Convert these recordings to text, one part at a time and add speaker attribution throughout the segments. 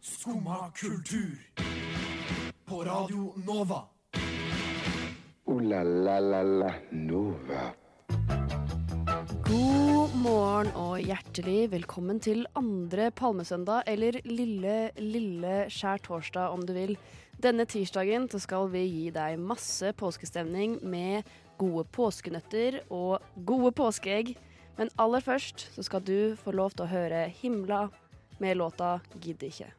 Speaker 1: Skumma kultur. På Radio Nova.
Speaker 2: Ooh la la la la Nova.
Speaker 3: God morgen og hjertelig velkommen til andre palmesøndag, eller lille, lille skjær torsdag om du vil. Denne tirsdagen så skal vi gi deg masse påskestemning med gode påskenøtter og gode påskeegg. Men aller først så skal du få lov til å høre Himla med låta Gidd ikke.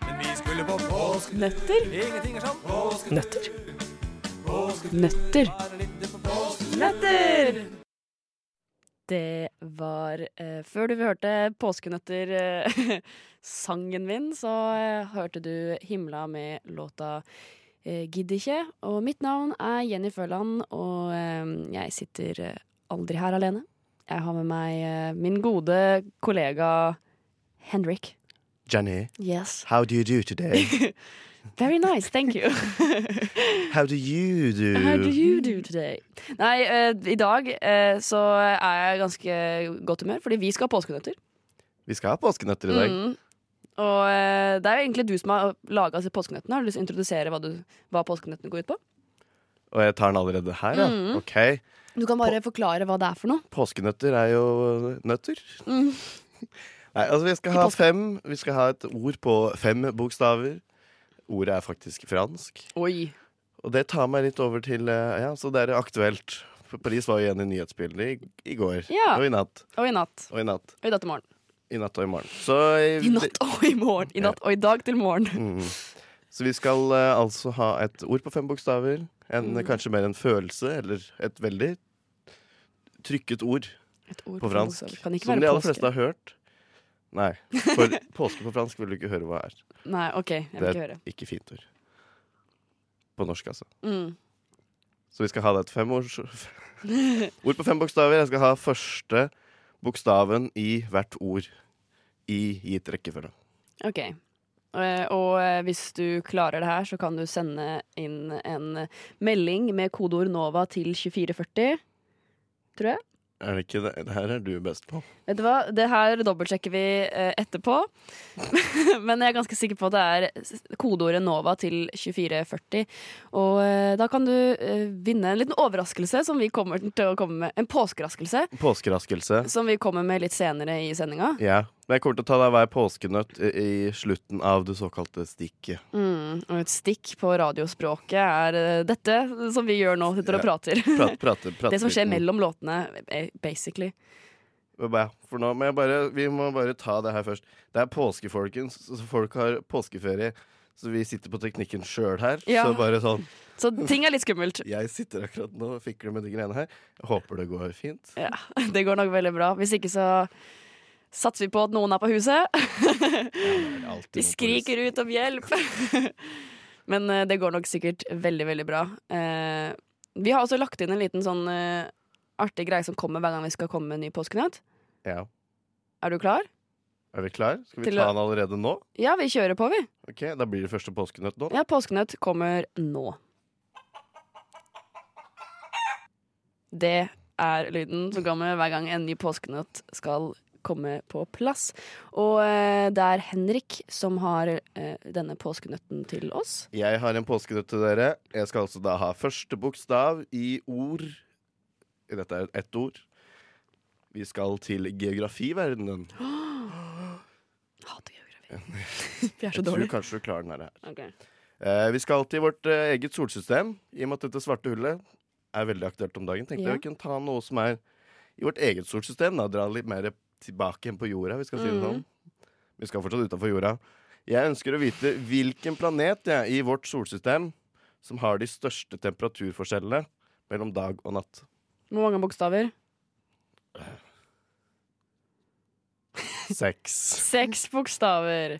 Speaker 1: Men vi skulle på påske,
Speaker 3: Nøtter?
Speaker 1: ingenting er sånn. Påske,
Speaker 3: Nøtter? Nøtter?
Speaker 1: bare litt på påske.
Speaker 3: Nøtter! Det var eh, Før du hørte påskenøtter-sangen min, så eh, hørte du Himla med låta eh, Gidd ikke. Og mitt navn er Jenny Føland, og eh, jeg sitter eh, aldri her alene. Jeg har med meg eh, min gode kollega Henrik.
Speaker 4: Jenny,
Speaker 3: Yes.
Speaker 4: how do you do today?
Speaker 3: Very nice, thank you.
Speaker 4: How do you do?
Speaker 3: How do you do today? Nei, eh, i dag eh, så er jeg ganske godt humør, fordi vi skal ha påskenøtter.
Speaker 4: Vi skal ha påskenøtter i dag.
Speaker 3: Mm. Og eh, det er jo egentlig du som har laga påskenøttene. Har du lyst til å introdusere hva, du, hva påskenøttene går ut på?
Speaker 4: Og jeg tar den allerede her, ja.
Speaker 3: Mm.
Speaker 4: Ok.
Speaker 3: Du kan bare forklare hva det er for noe.
Speaker 4: Påskenøtter er jo nøtter. Nei, altså vi skal
Speaker 3: I
Speaker 4: ha
Speaker 3: Mm. påske-
Speaker 4: fem Vi skal ha et ord på fem bokstaver. Ordet er faktisk fransk.
Speaker 3: Oi.
Speaker 4: Og det tar meg litt over til eh, Ja, så det er aktuelt. For Paris var jo igjen i nyhetsbildet i, i går.
Speaker 3: Ja.
Speaker 4: Og i natt.
Speaker 3: Og i natt.
Speaker 4: Og i natt.
Speaker 3: Og i natt til morgen.
Speaker 4: I natt og i morgen. Så eh,
Speaker 3: I natt og i morgen. I natt og i dag til morgen.
Speaker 4: Mm. Så vi skal eh, altså ha et ord på fem bokstaver. En,
Speaker 3: Mm.
Speaker 4: Kanskje mer en følelse, eller et veldig trykket ord
Speaker 3: Et ord
Speaker 4: på fransk.
Speaker 3: bokstaver. Kan ikke
Speaker 4: som de
Speaker 3: være
Speaker 4: aller
Speaker 3: påske.
Speaker 4: fleste har hørt. Nei, for påske på fransk vil du ikke høre hva er.
Speaker 3: Nei, OK. Jeg vil
Speaker 4: Det
Speaker 3: ikke
Speaker 4: er
Speaker 3: høre.
Speaker 4: et ikke fint ord. På norsk, altså.
Speaker 3: Mm.
Speaker 4: Så vi skal ha det et femårs Ord på fem bokstaver. Jeg skal ha første bokstaven i hvert ord i gitt rekkefølge.
Speaker 3: Ok. Eh, Og eh, hvis du klarer det her, så kan du sende inn en melding med kodeord NOVA til 2440. Tror jeg.
Speaker 4: Er det ikke det? Det her er du best på.
Speaker 3: Vet du hva, det her dobbeltsjekker vi eh, etterpå. Men jeg er ganske sikker på at det er s- kodeordet NOVA til 2440. Og eh, da kan du eh, vinne en liten overraskelse som vi kommer til å komme med. En påskeraskelse
Speaker 4: Påskeraskelse.
Speaker 3: som vi kommer med litt senere i sendinga.
Speaker 4: Ja, men jeg kommer til å ta deg hver påskenøtt i, i slutten av det såkalte stikket.
Speaker 3: Mm, og et stikk på radiospråket er eh, dette som vi gjør nå, sitter og
Speaker 4: Ja.
Speaker 3: prater.
Speaker 4: Prate, prate, prate.
Speaker 3: Det som skjer mellom låtene, eh, basically.
Speaker 4: Ja, For nå må jeg bare, vi må bare ta det her først. Det er påske, folkens. Så folk har påskeferie. Så vi sitter på teknikken sjøl her.
Speaker 3: Ja.
Speaker 4: Så bare sånn
Speaker 3: Så ting er litt skummelt.
Speaker 4: Jeg sitter akkurat nå og fikler med de greiene her. Jeg Håper det går fint.
Speaker 3: Ja, det går nok veldig bra. Hvis ikke så satser vi på at noen er på huset. Vi skriker ut om hjelp. Men eh, det går nok sikkert veldig, veldig bra. Eh, vi har også lagt inn en liten sånn eh, artig greie som kommer hver gang vi skal komme med en ny påskenøtt.
Speaker 4: Ja.
Speaker 3: Er du klar?
Speaker 4: Er vi klar? Skal vi
Speaker 3: Til
Speaker 4: ta
Speaker 3: å-
Speaker 4: den allerede nå?
Speaker 3: Ja, vi kjører på, vi.
Speaker 4: Ok, Da blir det første påskenøtt nå.
Speaker 3: Ja, påskenøtt kommer nå. Det er lyden som kommer hver gang en ny påskenøtt skal komme på plass. Og eh, det er Henrik som har eh, denne påskenøtten til oss.
Speaker 4: Jeg har en påskenøtt til dere. Jeg skal altså da ha første bokstav i ord Dette er ett ord. Vi skal til geografiverdenen.
Speaker 3: Hater geografi. Vi er så
Speaker 4: Jeg tror
Speaker 3: dårlige.
Speaker 4: kanskje du klarer den her.
Speaker 3: Ok.
Speaker 4: Eh, vi skal til vårt eh, eget solsystem, i og med at dette svarte hullet er veldig aktuelt om dagen. Tenkte
Speaker 3: Ja.
Speaker 4: jeg vi kunne ta noe som er i vårt eget solsystem. Da, dra litt mer tilbake igjen på jorda. Vi skal si det
Speaker 3: Mhm.
Speaker 4: sånn. Vi skal fortsatt utenfor jorda. Jeg ønsker å vite hvilken planet jeg, i vårt solsystem som har de største temperaturforskjellene mellom dag og natt.
Speaker 3: Hvor mange bokstaver?
Speaker 4: Seks.
Speaker 3: Seks bokstaver.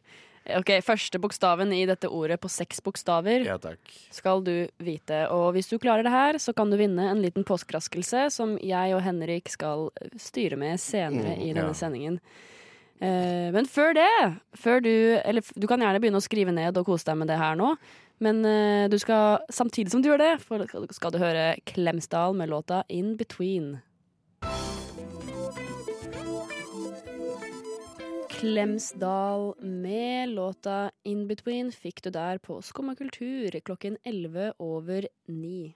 Speaker 3: Ok, Første bokstaven i dette ordet på seks bokstaver.
Speaker 4: Ja takk.
Speaker 3: skal du vite. Og hvis du klarer det her, så kan du vinne en liten påskeraskelse som jeg og Henrik skal styre med senere
Speaker 4: Mm,
Speaker 3: i denne
Speaker 4: ja.
Speaker 3: sendingen. Eh, men før det før du, Eller f- du kan gjerne begynne å skrive ned og kose deg med det her nå. Men eh, du skal, samtidig som du gjør det, for- skal du høre Klemsdal med låta In Between. Klemsdal med låta In Between fikk du der på Skumma kultur klokken 11 over 9.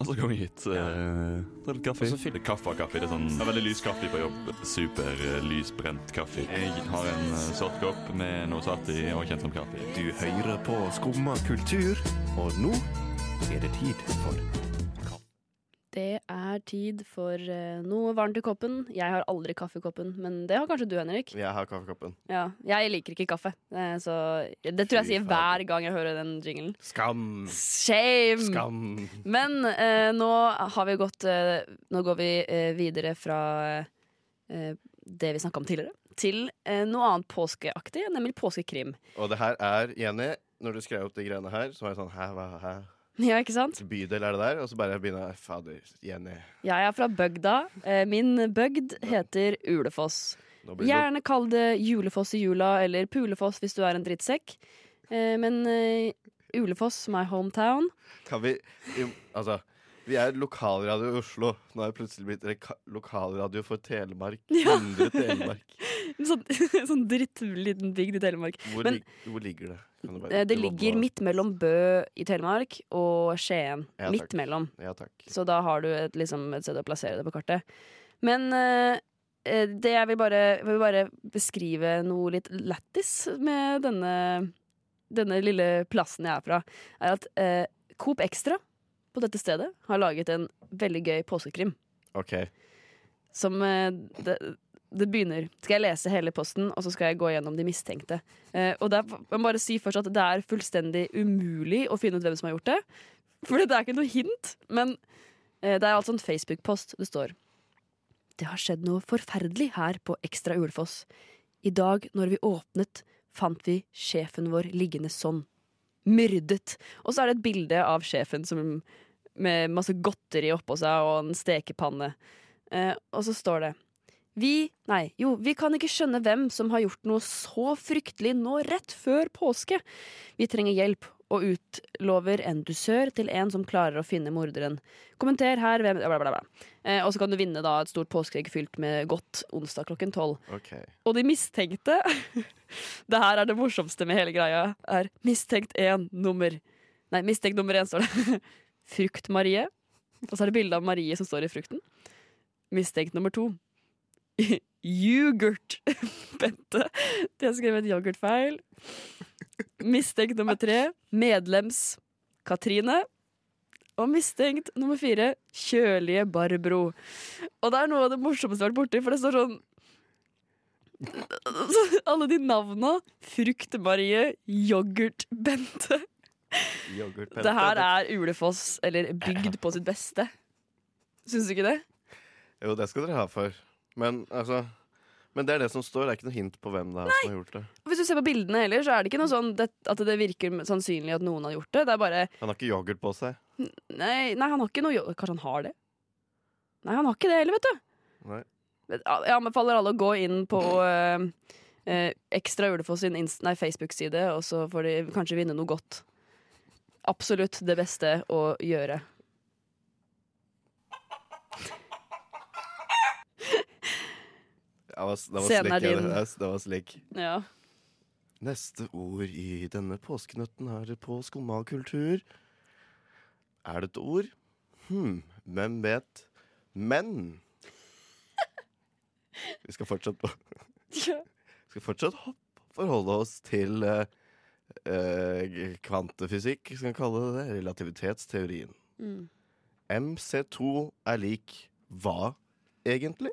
Speaker 5: Og så kom jeg hit. eh, Ta litt kaffe.
Speaker 6: Og så fikk-
Speaker 5: kaffe av kaffe. Det er sånn det er veldig lys kaffe på jobb. Super eh, lysbrent kaffe. Jeg har en eh, svart kopp med noe svart i, og kjent som kaffe.
Speaker 6: Du hører på Skumma kultur, og nå er det tid for
Speaker 3: Det er tid for eh, noe varmt i koppen. Jeg har aldri kaffe i koppen, men det har kanskje du, Henrik.
Speaker 4: Jeg har kaffekoppen.
Speaker 3: Ja, jeg liker ikke kaffe, eh, så det tror jeg
Speaker 4: Fy
Speaker 3: sier
Speaker 4: fader.
Speaker 3: hver gang jeg hører den jinglen.
Speaker 4: Skam!
Speaker 3: Shame!
Speaker 4: Skam!
Speaker 3: Men eh, nå har vi gått eh, Nå går vi eh, videre fra eh, det vi snakka om tidligere, til eh, noe annet påskeaktig, nemlig påskekrim.
Speaker 4: Og det her er, Jenny, når du skrev opp de greiene her, så var jeg sånn hæ, hva, hæ?
Speaker 3: Ja, ikke sant?
Speaker 4: Hvilken Bydel er det der? Og så bare begynner jeg Fader, Jenny.
Speaker 3: Jeg er fra bygda. Eh, min bygd heter Ulefoss.
Speaker 4: Nå blir det
Speaker 3: Gjerne kall det Julefoss i jula, eller Pulefoss hvis du er en drittsekk. Eh, men eh, Ulefoss, my hometown.
Speaker 4: Kan vi jo, Altså, vi er lokalradio i Oslo. Nå er det plutselig blitt reka- lokalradio for Telemark.
Speaker 3: Ja.
Speaker 4: Indre Telemark.
Speaker 3: Sånn, sånn drittliten bygd i Telemark.
Speaker 4: Hvor,
Speaker 3: Men-
Speaker 4: lig, hvor ligger det? Kan du bare-
Speaker 3: Eh, det
Speaker 4: du må
Speaker 3: ligger
Speaker 4: bare-
Speaker 3: midt mellom Bø i Telemark og Skien.
Speaker 4: Ja, takk.
Speaker 3: midt mellom.
Speaker 4: Ja takk.
Speaker 3: Så da har du et, liksom, et sted å plassere det på kartet. Men eh, eh, det jeg vil bare, jeg vil bare beskrive noe litt lættis med denne, denne lille plassen jeg er fra, er at eh, Coop Extra på dette stedet har laget en veldig gøy påskekrim.
Speaker 4: OK.
Speaker 3: Som eh, det, det begynner. Skal jeg lese hele posten, og så skal jeg gå gjennom de mistenkte. Eh, og det er, jeg må bare si først at det er fullstendig umulig å finne ut hvem som har gjort det. For det er ikke noe hint. Men eh, det er altså en Facebook-post det står. Det har skjedd noe forferdelig her på Ekstra Ulefoss. I dag når vi åpnet, fant vi sjefen vår liggende sånn. Myrdet. Og så er det et bilde av sjefen som, med masse godteri oppå seg og en stekepanne. Eh, og så står det Vi, nei, jo, vi kan ikke skjønne hvem som har gjort noe så fryktelig nå rett før påske. Vi trenger hjelp, og utlover en dusør til en som klarer å finne morderen. Kommenter her hvem bla, bla, bla. Eh, og så kan du vinne da et stort påskeegg fylt med godt onsdag klokken tolv.
Speaker 4: ok
Speaker 3: Og de mistenkte Det her er det morsomste med hele greia. Er mistenkt én nummer Nei, mistenkt nummer én står det. Frukt-Marie. Og så er det bilde av Marie som står i frukten. Mistenkt nummer to. Yoghurt. Bente. De har skrevet yoghurtfeil. Mistenkt nummer tre. Medlems Katrine. Og mistenkt nummer fire. Kjølige Barbro. Og det er noe av det morsomste jeg har vært borti, for det står sånn alle de navna. Frukt-Marie, Yoghurt-Bente.
Speaker 4: Yoghurt,
Speaker 3: Det her er Ulefoss, eller bygd på sitt beste. Syns du ikke det?
Speaker 4: Jo, det skal dere ha for. Men altså Men det er det som står. Det er ikke noe hint på hvem det er som har gjort det.
Speaker 3: Hvis du ser på bildene heller, så er det ikke noe sånn det, at det virker sannsynlig at noen har gjort det. Det er bare
Speaker 4: Han har ikke yoghurt på seg.
Speaker 3: Nei, nei han har ikke noe jo- Kanskje han har det? Nei, han har ikke det heller, vet du.
Speaker 4: Nei.
Speaker 3: Men, ja, Jeg anbefaler alle å gå inn på eh, eh, Ekstra Ulefoss sin Inst- nei, Facebook-side, og så får de kanskje vinne noe godt. Absolutt det beste å gjøre.
Speaker 4: Det var, det var
Speaker 3: Scenen
Speaker 4: slik,
Speaker 3: er
Speaker 4: ja,
Speaker 3: din.
Speaker 4: det, er- det var slik.
Speaker 3: Ja.
Speaker 4: Neste ord i denne påskenøtten her på Skumma kultur Er det et ord? Hm, hvem vet? Men Vi skal fortsatt på
Speaker 3: Ja.
Speaker 4: skal fortsatt hopp, forholde oss til eh, eh, kvantefysikk, skal vi kalle det det, relativitetsteorien.
Speaker 3: Mm.
Speaker 4: MC2 er lik hva, egentlig?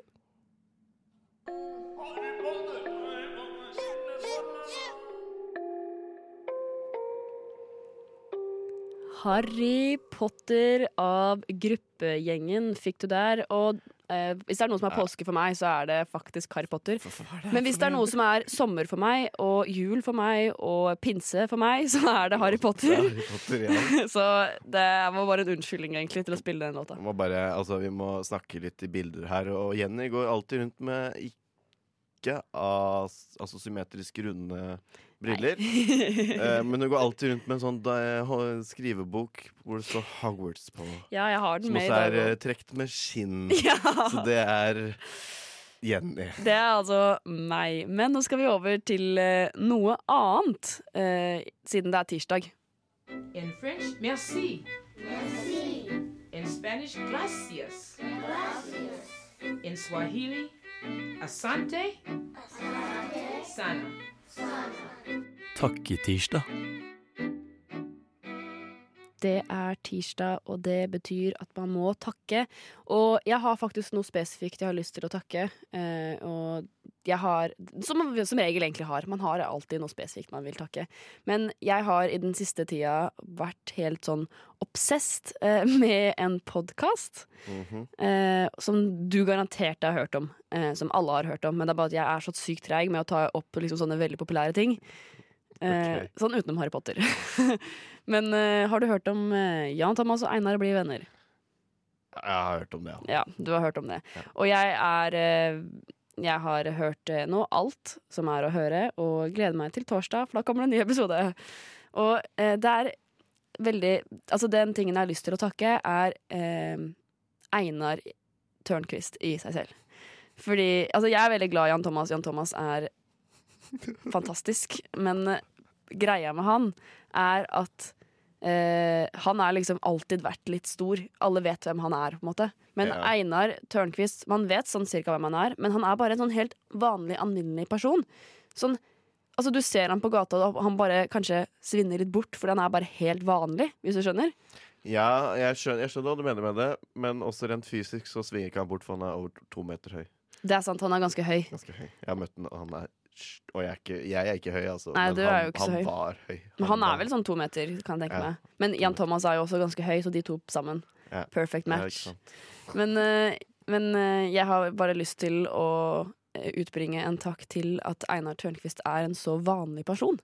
Speaker 3: Harry Potter av gruppegjengen fikk du der. Og eh, hvis det er noe som er påske for meg, så er det faktisk Harry Potter. Men hvis det er noe som er sommer for meg, og jul for meg, og pinse for meg, så er det Harry
Speaker 4: Ja,
Speaker 3: Potter.
Speaker 4: Harry Potter, ja.
Speaker 3: Så det var bare en unnskyldning egentlig til å spille den låta.
Speaker 4: Vi må, bare, altså, vi må snakke litt i bilder her. Og Jenny går alltid rundt med ikke as, altså symmetrisk runde briller. eh, men hun går alltid rundt med en sånn da- hå- skrivebok hvor det står Hogwarts på.
Speaker 3: Ja, jeg har den
Speaker 4: Som
Speaker 3: med i
Speaker 4: også er
Speaker 3: dag.
Speaker 4: eh, trekt med skinn.
Speaker 3: også. Ja.
Speaker 4: Så det er Jenny.
Speaker 3: Det er altså meg. Men nå skal vi over til eh, noe annet, eh, siden det er tirsdag.
Speaker 7: In French, merci. Merci. In Spanish, gracias. Gracias. In Swahili, asante. Asante. Sana.
Speaker 8: Takketirsdag.
Speaker 3: Det er tirsdag, og det betyr at man må takke. Og jeg har faktisk noe spesifikt jeg har lyst til å takke. eh, og jeg har Som man som regel egentlig har. Man har alltid noe spesifikt man vil takke. Men jeg har i den siste tida vært helt sånn obsessed eh, med en podkast.
Speaker 4: Mhm.
Speaker 3: eh, som du garantert har hørt om. eh, som alle har hørt om. Men det er bare at jeg er så sykt treig med å ta opp liksom, sånne veldig populære ting. Eh,
Speaker 4: Ok.
Speaker 3: Sånn utenom Harry Potter. Men eh, har du hørt om eh, Jan Thomas og Einar blir venner?
Speaker 4: Jeg har hørt om det,
Speaker 3: Ja,
Speaker 4: ja.
Speaker 3: du har hørt om det. Og jeg er eh, Jeg har hørt eh, nå alt som er å høre, og gleder meg til torsdag, for da kommer det en ny episode. Og eh, det er veldig Altså, den tingen jeg har lyst til å takke, er eh, Einar Tørnquist i seg selv. Fordi Altså, jeg er veldig glad i Jan Thomas. Jan Thomas er fantastisk. Men eh, greia med han er at eh, han er liksom alltid vært litt stor. Alle vet hvem han er, på en måte. Men
Speaker 4: Ja.
Speaker 3: Einar Tørnquist, man vet sånn cirka hvem han er, men han er bare en sånn helt vanlig, alminnelig person. Sånn, altså Du ser han på gata, og han bare kanskje svinner litt bort, fordi han er bare helt vanlig, hvis du skjønner?
Speaker 4: Ja, jeg skjønner, jeg skjønner hva du mener med det, men også rent fysisk så svinger ikke han bort, for han er over to meter høy.
Speaker 3: Det er sant, han er ganske høy.
Speaker 4: Ganske høy. Jeg har møtt han, og han er Og jeg er ikke, jeg er ikke høy, altså.
Speaker 3: Nei,
Speaker 4: men
Speaker 3: du er
Speaker 4: han,
Speaker 3: jo ikke så høy.
Speaker 4: Han var høy.
Speaker 3: Men han er
Speaker 4: var-
Speaker 3: vel sånn to meter, kan jeg tenke
Speaker 4: Ja.
Speaker 3: meg. Men Jan Thomas er jo også ganske høy, så de to sammen.
Speaker 4: Ja.
Speaker 3: Perfect
Speaker 4: Ja, ikke
Speaker 3: match.
Speaker 4: sant.
Speaker 3: Men, eh, men eh, jeg har bare lyst til å eh, utbringe en takk til at Einar Tørnquist er en så vanlig person.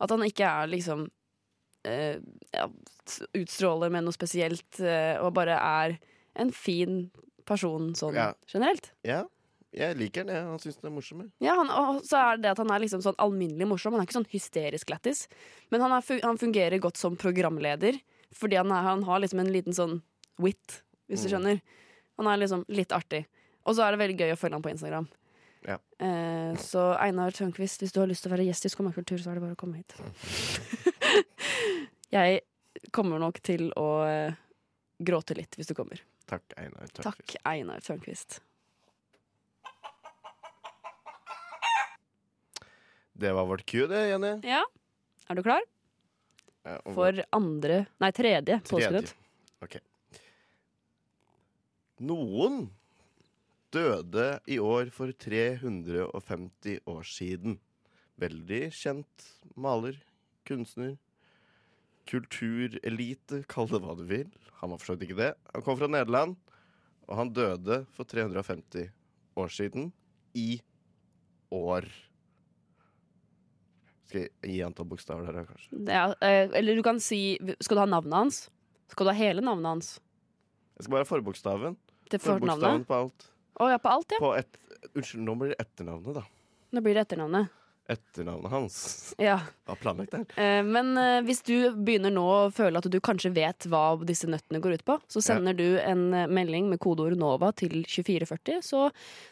Speaker 3: At han ikke er liksom eh, ja, Utstråler med noe spesielt, eh, og bare er en fin person sånn
Speaker 4: Ja.
Speaker 3: generelt.
Speaker 4: Ja, jeg liker den, jeg. Han syns den er morsom. jeg.
Speaker 3: Ja, han, og så er det at han er liksom sånn alminnelig morsom. Han er ikke sånn hysterisk lættis. Men han, er, fu- han fungerer godt som programleder, fordi han, er, han har liksom en liten sånn wit, hvis du
Speaker 4: Mm.
Speaker 3: skjønner. Han er liksom litt artig. Og så er det veldig gøy å følge han på Instagram.
Speaker 4: Ja.
Speaker 3: Eh, så Einar Tørnquist, hvis du har lyst til å være gjest i Skummakultur, så er det bare å komme hit. jeg kommer nok til å eh, gråte litt hvis du kommer.
Speaker 4: Takk, Einar. Takk.
Speaker 3: Takk, Einar Tørnquist.
Speaker 4: Det var vårt cue, det, Jenny.
Speaker 3: Ja, er du klar?
Speaker 4: Ja, og
Speaker 3: for andre Nei, tredje påskenytt.
Speaker 4: Ok. Noen døde i år for 350 år siden. Veldig kjent maler, kunstner, kulturelite, kall det hva du vil. Han var for så vidt ikke det. Han kom fra Nederland, og han døde for 350 år siden i år. Skal jeg gi antall bokstaver der, da, kanskje?
Speaker 3: Det er, eh, eller du kan si Skal du ha navnet hans? Skal du ha hele navnet hans?
Speaker 4: Jeg skal bare ha forbokstaven.
Speaker 3: Til
Speaker 4: Forbokstaven
Speaker 3: fornavnet?
Speaker 4: på alt.
Speaker 3: Å ja, på alt, ja.
Speaker 4: På et, unnskyld, nå blir det etternavnet, da.
Speaker 3: Nå blir det etternavnet.
Speaker 4: Etternavnet hans.
Speaker 3: Ja.
Speaker 4: Hva planlagt det her?
Speaker 3: Eh, men eh, hvis du begynner nå å føle at du kanskje vet hva disse nøttene går ut på, så sender du en eh, melding med kodeord NOVA til 2440, så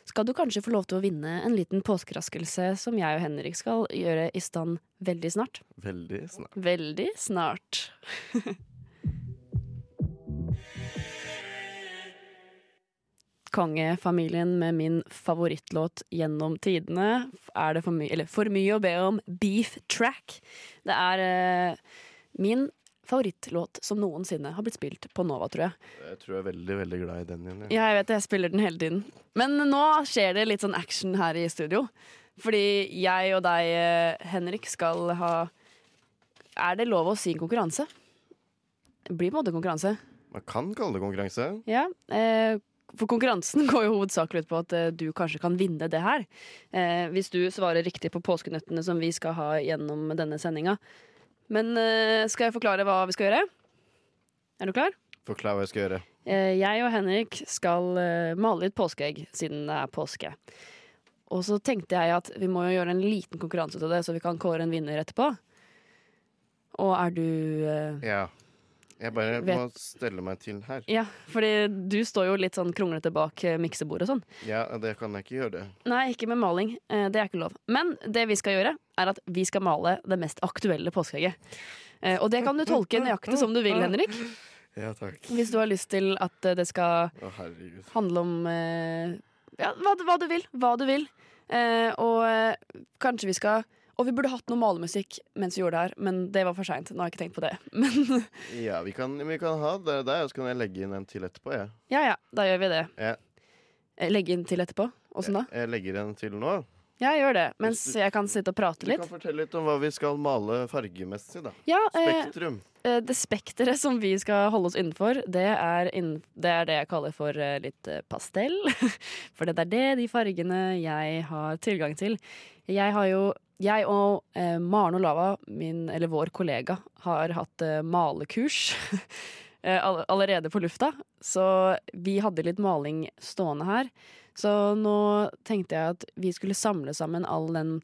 Speaker 3: skal du kanskje få lov til å vinne en liten påskeraskelse som jeg og Henrik skal gjøre i stand veldig snart.
Speaker 4: Veldig snart.
Speaker 3: Veldig snart. Kongefamilien med min favorittlåt gjennom tidene er det for mye, eller for mye å be om Beef Track. Det er eh, min favorittlåt som noensinne har blitt spilt på Nova, tror jeg.
Speaker 4: Jeg tror jeg er veldig veldig glad i den igjen. jeg.
Speaker 3: Ja, jeg vet det. Jeg spiller den hele tiden. Men nå skjer det litt sånn action her i studio. Fordi jeg og deg, eh, Henrik, skal ha Er det lov å si en konkurranse? Det blir på en måte konkurranse.
Speaker 4: Man kan kalle det konkurranse.
Speaker 3: Ja. Eh, for konkurransen går jo hovedsakelig ut på at eh, du kanskje kan vinne det her. Eh, hvis du svarer riktig på påskenøttene som vi skal ha gjennom denne sendinga. Men eh, skal jeg forklare hva vi skal gjøre? Er du klar?
Speaker 4: Forklar hva jeg skal gjøre.
Speaker 3: Eh, Jeg og Henrik skal eh, male litt påskeegg siden det er påske. Og så tenkte jeg at vi må jo gjøre en liten konkurranse til det, så vi kan kåre en vinner etterpå. Og er du eh,
Speaker 4: Ja. Jeg bare
Speaker 3: Vet-
Speaker 4: må stelle meg til her.
Speaker 3: Ja, fordi du står jo litt sånn kronglete bak eh, miksebordet og sånn.
Speaker 4: Ja, det kan jeg ikke gjøre.
Speaker 3: Nei, ikke med maling. Eh, Det er ikke lov. Men det vi skal gjøre, er at vi skal male det mest aktuelle påskeegget. Eh, Og det kan du tolke nøyaktig som du vil, Henrik.
Speaker 4: Ja, takk.
Speaker 3: Hvis du har lyst til at eh, det skal
Speaker 4: Å, herregud.
Speaker 3: handle om eh, ja, hva, hva du vil. Hva du vil. Eh, og eh, kanskje vi skal Og vi burde hatt noe malemusikk mens vi gjorde det her, men det var for seint. Nå har jeg ikke tenkt på det. Men
Speaker 4: Ja, vi kan, vi kan ha det der, og så kan jeg legge inn en til etterpå, jeg.
Speaker 3: ja ja, da gjør vi det.
Speaker 4: Ja.
Speaker 3: Eh, Legge inn til etterpå. Åssen da?
Speaker 4: Jeg legger en til nå.
Speaker 3: Ja, gjør det. Mens jeg kan sitte og prate
Speaker 4: Du
Speaker 3: litt.
Speaker 4: kan fortelle litt om hva vi skal male fargemessig, da.
Speaker 3: Ja, eh,
Speaker 4: Spektrum.
Speaker 3: eh, det spekteret som vi skal holde oss innenfor, det er, innen, det, er det jeg kaller for eh, litt eh, pastell. For det er det de fargene jeg har tilgang til. Jeg har jo jeg og eh, Maren Olava, min, eller vår kollega, har hatt eh, malekurs eh, all, allerede på lufta. Så vi hadde litt maling stående her. Så nå tenkte jeg at vi skulle samle sammen all den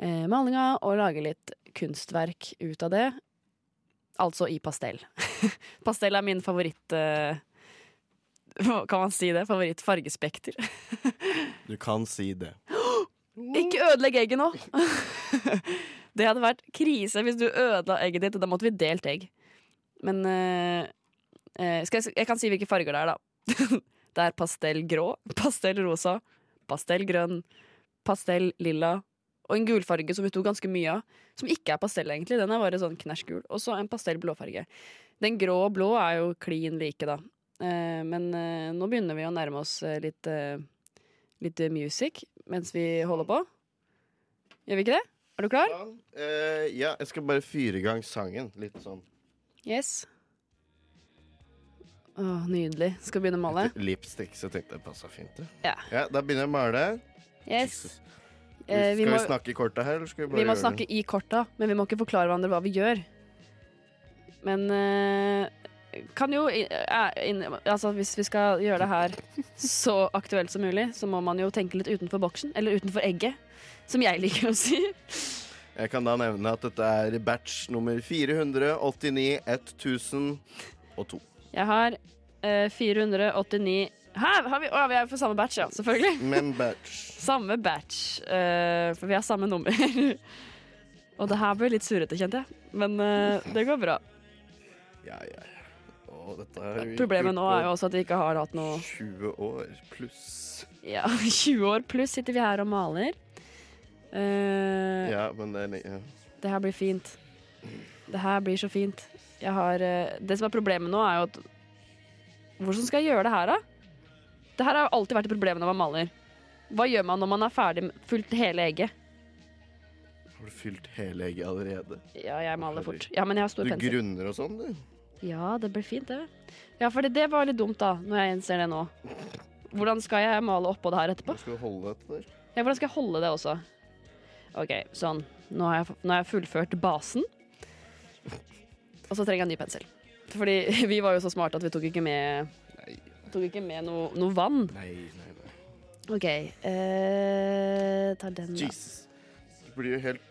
Speaker 3: eh, malinga og lage litt kunstverk ut av det. Altså i pastell. pastell er min favoritt eh, hva- Kan man si det? Favorittfargespekter.
Speaker 4: Du kan si det.
Speaker 3: Ikke ødelegg egget nå! det hadde vært krise hvis du ødela egget ditt. Da måtte vi delt egg. Men eh, eh, skal jeg, s- jeg kan si hvilke farger det er, da. det er pastell grå, pastell rosa, pastell grønn, pastell lilla og en gulfarge som vi tok ganske mye av. Som ikke er pastell, egentlig. Den er bare sånn knæsj gul. Og så en pastell blåfarge. Den grå og blå er jo klin like, da. Eh, men eh, nå begynner vi å nærme oss eh, litt eh, litt music mens vi holder på. Gjør vi ikke det? Er du klar?
Speaker 4: Eh, ja, jeg skal bare fyre i gang sangen. Litt sånn
Speaker 3: Yes. Åh, nydelig. Skal vi begynne å male?
Speaker 4: lipstick, så jeg tenkte det passa fint. det.
Speaker 3: Ja.
Speaker 4: ja, Da begynner jeg å male.
Speaker 3: Yes. Eh,
Speaker 4: Skal
Speaker 3: vi,
Speaker 4: vi,
Speaker 3: må,
Speaker 4: snakke i korta her, eller skal vi bare
Speaker 3: vi må
Speaker 4: gjøre
Speaker 3: snakke i korta, men vi må ikke forklare hverandre hva vi gjør. Men eh, kan jo i- eh, inn- Altså, hvis vi skal gjøre det her så aktuelt som mulig, så må man jo tenke litt utenfor boksen. Eller utenfor egget, som jeg liker å si.
Speaker 4: det? Jeg kan da nevne at dette er batch nummer 489 1002.
Speaker 3: Jeg har eh, 489 Hæ? Har vi, å, vi er for samme batch, ja. Selvfølgelig.
Speaker 4: Men batch
Speaker 3: Samme batch, eh, for vi har samme nummer. Og det her ble litt surrete, kjente jeg. Men eh, det går bra.
Speaker 4: Ja, ja. Å, dette er jo
Speaker 3: Problemet nå er jo også at vi ikke har hatt noe
Speaker 4: 20 år pluss.
Speaker 3: Ja, 20 år pluss sitter vi her og maler. Eh,
Speaker 4: Ja, men det er lenge.
Speaker 3: Det her blir fint. Det her blir så fint. Jeg har eh, Det som er problemet nå, er jo at Hvordan skal jeg gjøre det her, da? Det her har jo alltid vært et problem når man maler. Hva gjør man når man er ferdig med fullt hele egget?
Speaker 4: Har du fylt hele egget allerede?
Speaker 3: Ja, jeg maler fort. Ja, men jeg har
Speaker 4: Du
Speaker 3: stor pensel.
Speaker 4: grunner og sånn, du?
Speaker 3: Ja, det blir fint, det. Ja, for det var litt dumt, da, når jeg innser det nå. Hvordan skal jeg male oppå det her etterpå?
Speaker 4: Du skal holde dette der.
Speaker 3: Ja, hvordan skal jeg holde det også? Ok, sånn. Nå har jeg, nå har jeg fullført basen. Og så trenger jeg en ny pensel. Fordi vi var jo så smarte at vi tok ikke med, tok ikke med noe, noe vann.
Speaker 4: Nei, nei, nei.
Speaker 3: Ok, eh, ta den da.
Speaker 4: Jesus. Du blir jo helt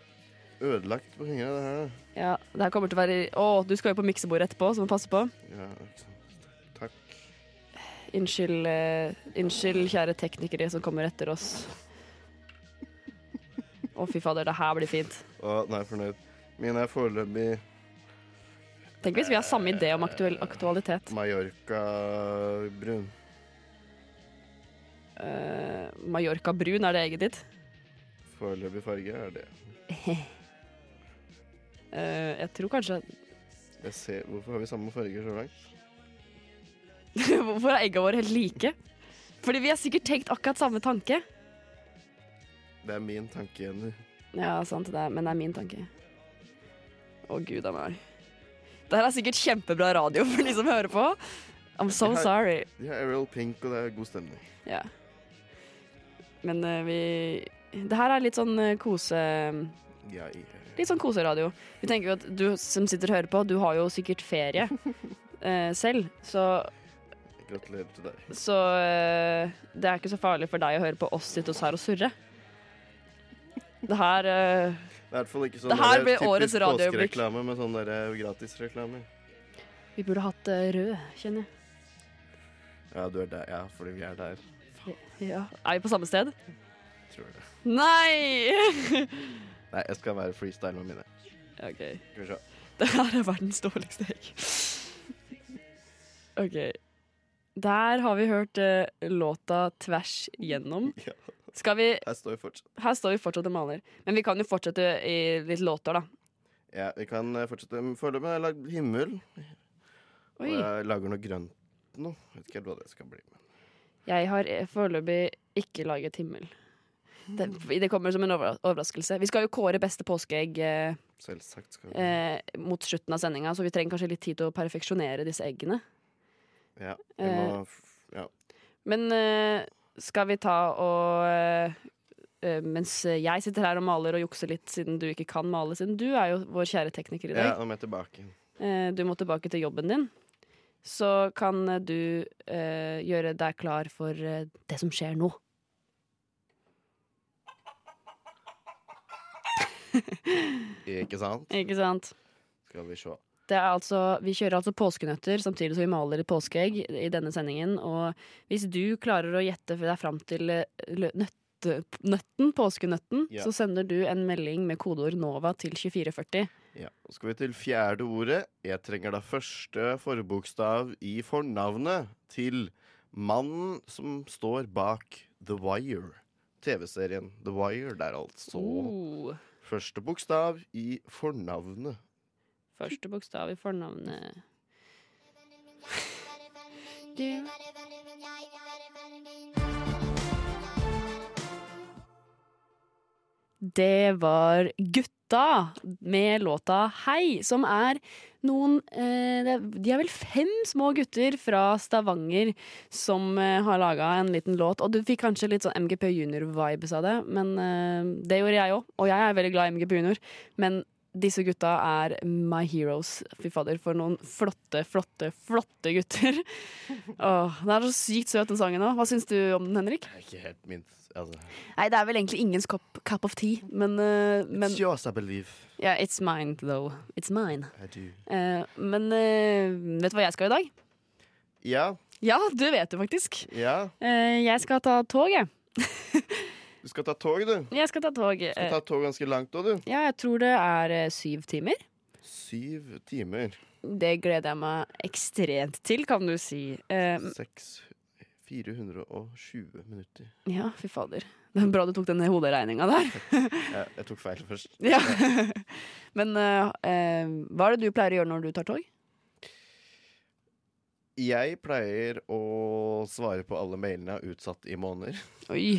Speaker 4: ødelagt på fingrene, det her.
Speaker 3: Ja, det her kommer til å være... Å, du skal jo på miksebordet etterpå, så må du passe på.
Speaker 4: Ja, ikke sant. Takk.
Speaker 3: Unnskyld, eh, unnskyld, kjære teknikere som kommer etter oss. Å fy fader, det her blir fint.
Speaker 4: Å, nå er jeg fornøyd. Mine er foreløpig
Speaker 3: Tenk hvis vi har samme idé om aktuell, aktualitet.
Speaker 4: Mallorca-brun.
Speaker 3: Eh, Mallorca brun, er det eget ditt?
Speaker 4: Foreløpig farge er det.
Speaker 3: Eh, jeg tror kanskje
Speaker 4: Jeg ser, Hvorfor har vi samme farger så langt?
Speaker 3: Hvorfor er egga våre helt like? Fordi vi har sikkert tenkt akkurat samme tanke.
Speaker 4: Det er min tanke, Jenny.
Speaker 3: Ja, sant det, er, men det er min tanke. Å, gud a meg. Det her er sikkert kjempebra radio for de som hører på. I'm so
Speaker 4: Det her-
Speaker 3: sorry.
Speaker 4: De har Ariel Pink, og det er god stemning.
Speaker 3: Ja. Men eh, vi Det her er litt sånn eh, kose...
Speaker 4: Ja, jeg-
Speaker 3: Litt sånn koseradio. Vi tenker jo at du som sitter og hører på, du har jo sikkert ferie eh, selv, så
Speaker 4: Gratulerer til deg.
Speaker 3: Så eh, det er ikke så farlig for deg å høre på oss sitte oss her og surre. Det her eh,
Speaker 4: Det er i hvert fall ikke sånn
Speaker 3: Det her
Speaker 4: der
Speaker 3: blir
Speaker 4: typisk
Speaker 3: årets radioøyeblikk.
Speaker 4: påskereklame med sånn der eh, gratisreklame.
Speaker 3: Vi burde hatt eh, rød, kjenner jeg.
Speaker 4: Ja, du er der. Ja, fordi vi er der.
Speaker 3: Ja. Er vi på samme sted?
Speaker 4: Tror jeg.
Speaker 3: Nei!
Speaker 4: Nei, jeg skal være freestyle med mine.
Speaker 3: OK.
Speaker 4: Skal vi se.
Speaker 3: Det her er verdens dårligste egg. OK. Der har vi hørt eh, låta tvers gjennom.
Speaker 4: Ja.
Speaker 3: Skal vi
Speaker 4: Jeg står fortsatt.
Speaker 3: Her står vi fortsatt og maler. Men vi kan jo fortsette i litt låter, da.
Speaker 4: Ja, vi kan eh, fortsette. Foreløpig har jeg lagd himmel. Og
Speaker 3: Oi.
Speaker 4: jeg lager noe grønt nå. Vet ikke helt hva det skal bli. Men.
Speaker 3: Jeg har eh, foreløpig ikke laget himmel. Det, det kommer som en overra- overraskelse. Vi skal jo kåre beste påskeegg eh,
Speaker 4: Selvsagt skal vi
Speaker 3: eh, mot slutten av sendinga, så vi trenger kanskje litt tid til å perfeksjonere disse eggene.
Speaker 4: Ja. Vi
Speaker 3: eh,
Speaker 4: må f- ja.
Speaker 3: Men eh, skal vi ta og eh, eh, Mens jeg sitter her og maler og jukser litt, siden du ikke kan male, siden du er jo vår kjære tekniker i
Speaker 4: ja,
Speaker 3: dag.
Speaker 4: nå må jeg tilbake.
Speaker 3: eh, du må tilbake til jobben din, så kan eh, du eh, gjøre deg klar for eh, det som skjer nå.
Speaker 4: Ikke sant?
Speaker 3: Ikke sant?
Speaker 4: Skal vi se.
Speaker 3: Det er altså, vi kjører altså påskenøtter samtidig som vi maler et påskeegg i denne sendingen. Og hvis du klarer å gjette deg fram til eh, lø- nøtte, nøtten, påskenøtten,
Speaker 4: Ja.
Speaker 3: så sender du en melding med kodeord NOVA til 2440.
Speaker 4: Ja. Så skal vi til fjerde ordet. Jeg trenger da første forbokstav i fornavnet til mannen som står bak The Wire. TV-serien The Wire der, altså.
Speaker 3: Oh,
Speaker 4: Første bokstav i fornavnet.
Speaker 3: første bokstav i fornavnet. Det var Gutta med låta Hei, som er noen eh, det er- De er vel fem små gutter fra Stavanger som eh, har laga en liten låt. Og du fikk kanskje litt sånn MGP Junior-vibes av det, men eh, det gjorde jeg òg. Og jeg er veldig glad i MGP Junior, men disse gutta er my heroes. Fy fader, for noen flotte, flotte, flotte gutter. Åh, den er så sykt søt, den sangen òg. Hva syns du om den, Henrik?
Speaker 4: Det er Ikke helt min altså.
Speaker 3: Nei, det er vel egentlig ingens cup, cup of tea, men, eh, men
Speaker 4: It's yours, I believe.
Speaker 3: Ja, it's mine, though. It's mine.
Speaker 4: I do.
Speaker 3: Eh, men eh, vet du hva jeg skal i dag?
Speaker 4: Ja,
Speaker 3: Ja, du vet det faktisk.
Speaker 4: ja.
Speaker 3: Eh, jeg skal ta tog, jeg.
Speaker 4: Du skal ta tog, du.
Speaker 3: Jeg skal ta tog.
Speaker 4: Du skal ta tog ganske langt òg, du.
Speaker 3: Eh, ja, jeg tror det er eh, syv timer.
Speaker 4: Syv timer.
Speaker 3: Det gleder jeg meg ekstremt til, kan du si. Eh,
Speaker 4: Seks 420 minutter.
Speaker 3: ja, fy fader. Det er bra du tok den hoderegninga der.
Speaker 4: Jeg, jeg tok feil først.
Speaker 3: Ja. Men eh, eh, hva er det du pleier å gjøre når du tar tog?
Speaker 4: Jeg pleier å svare på alle mailene jeg har utsatt i måneder.
Speaker 3: Oi,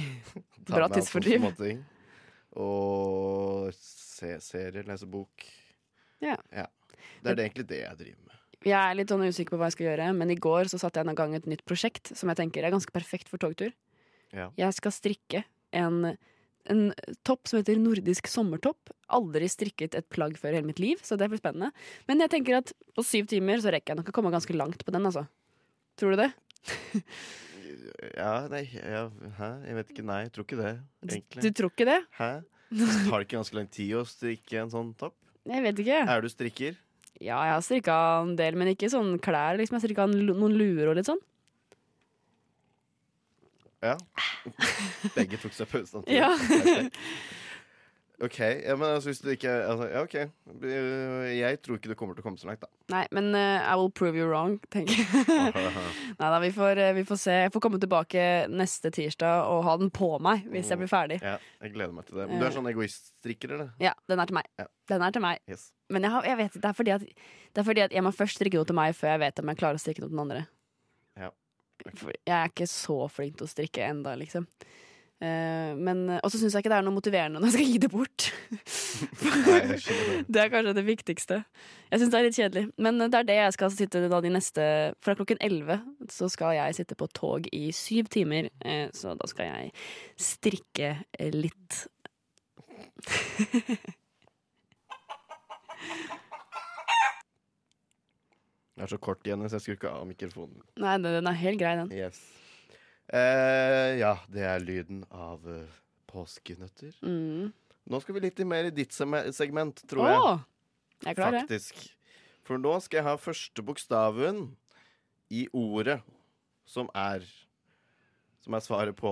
Speaker 4: Ta
Speaker 3: Bra
Speaker 4: meg av på
Speaker 3: tidsfordriv.
Speaker 4: sånne ting. Og se serier, lese bok.
Speaker 3: Ja.
Speaker 4: Det er det egentlig det jeg driver med.
Speaker 3: Jeg er litt sånn usikker på hva jeg skal gjøre, men i går så satte jeg i gang et nytt prosjekt som jeg tenker er ganske perfekt for togtur.
Speaker 4: Ja.
Speaker 3: Jeg skal strikke en, en topp som heter nordisk sommertopp. Aldri strikket et plagg før i hele mitt liv, så det blir spennende. Men jeg tenker at på syv timer så rekker jeg nok å komme ganske langt på den, altså. Tror du det?
Speaker 4: Ja, nei, ja, hæ? Jeg vet ikke. Nei, jeg tror ikke det,
Speaker 3: Du
Speaker 4: egentlig.
Speaker 3: tror ikke det?
Speaker 4: Hæ? Tar det ikke ganske lang tid å strikke en sånn topp?
Speaker 3: Jeg vet ikke.
Speaker 4: Er du strikker?
Speaker 3: Ja, jeg har strikka en del, men ikke sånn klær. Liksom. Jeg har strikka noen luer og litt sånn.
Speaker 4: Ja. Begge tok seg pause samtidig.
Speaker 3: Ja.
Speaker 4: Perfekt. OK. Ja, men altså, hvis du ikke altså, Ja, OK. Jeg tror ikke du kommer til å komme så langt, da.
Speaker 3: Nei, men eh, I will prove you wrong, tenker jeg. Nei da, vi får, eh, vi får se. Jeg får komme tilbake neste tirsdag og ha den på meg hvis jeg blir ferdig.
Speaker 4: Ja, jeg gleder meg til det. Men du er sånn egoiststrikker, eller?
Speaker 3: Ja, den er til meg.
Speaker 4: Ja.
Speaker 3: Den er til meg.
Speaker 4: Yes.
Speaker 3: Men jeg, har, jeg vet, det, er fordi at, det er fordi at jeg må først strikke noe til meg før jeg vet om jeg klarer å strikke noe til den andre.
Speaker 4: Ja.
Speaker 3: For jeg er ikke så flink til å strikke enda, liksom. Eh, men, og så syns jeg ikke det er noe motiverende når jeg skal gi det bort.
Speaker 4: Nei, jeg skjønner det.
Speaker 3: Det er kanskje det viktigste. Jeg syns det er litt kjedelig. Men det er det jeg skal sitte da de neste Fra klokken 11 så skal jeg sitte på tog i syv timer. eh, Så da skal jeg strikke eh, litt.
Speaker 4: Det er så kort igjen, så jeg skrur ikke av mikrofonen.
Speaker 3: Nei, den den er helt grei, den.
Speaker 4: Yes. Eh, ja, det er lyden av eh, påskenøtter.
Speaker 3: Mm.
Speaker 4: Nå skal vi litt mer i ditt seme- segment, tror jeg.
Speaker 3: Å! Jeg er klar, jeg.
Speaker 4: Faktisk. For nå skal jeg ha første bokstaven i ordet som er Som er svaret på.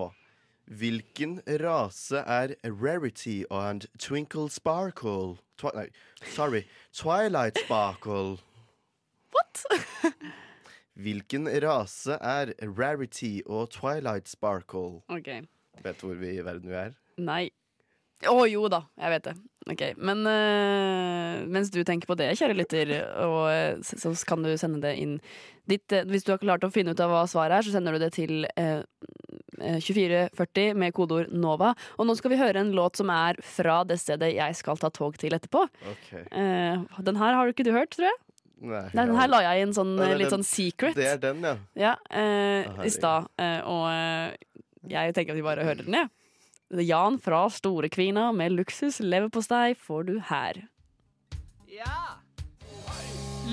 Speaker 4: Hvilken rase er Rarity and Twinkle Sparkle Twi Nei, sorry. Twilight Sparkle.
Speaker 3: What?
Speaker 4: Hvilken rase er Rarity og Twilight Sparkle?
Speaker 3: OK.
Speaker 4: Vet du hvor vi i verden vi er?
Speaker 3: Nei. Å jo da, jeg vet det. Ok, Men eh, mens du tenker på det, kjære lytter, og, eh, så, så kan du sende det inn ditt eh, Hvis du har klart å finne ut av hva svaret er, så sender du det til eh, eh, 2440 med kodeord NOVA. Og nå skal vi høre en låt som er fra det stedet jeg skal ta tog til etterpå.
Speaker 4: Ok
Speaker 3: Eh, den her har du ikke du hørt, tror jeg?
Speaker 4: Nei,
Speaker 3: Nei, den her la jeg inn sånn
Speaker 4: Ja, det
Speaker 3: eh,
Speaker 4: er
Speaker 3: litt
Speaker 4: den-
Speaker 3: sånn secret
Speaker 4: Det er den, ja.
Speaker 3: ja, eh,
Speaker 4: Å,
Speaker 3: i stad. Eh, og eh, jeg tenker at vi bare hører den, jeg. Ja. Jan fra Storekvina med luksus leverpostei får du her.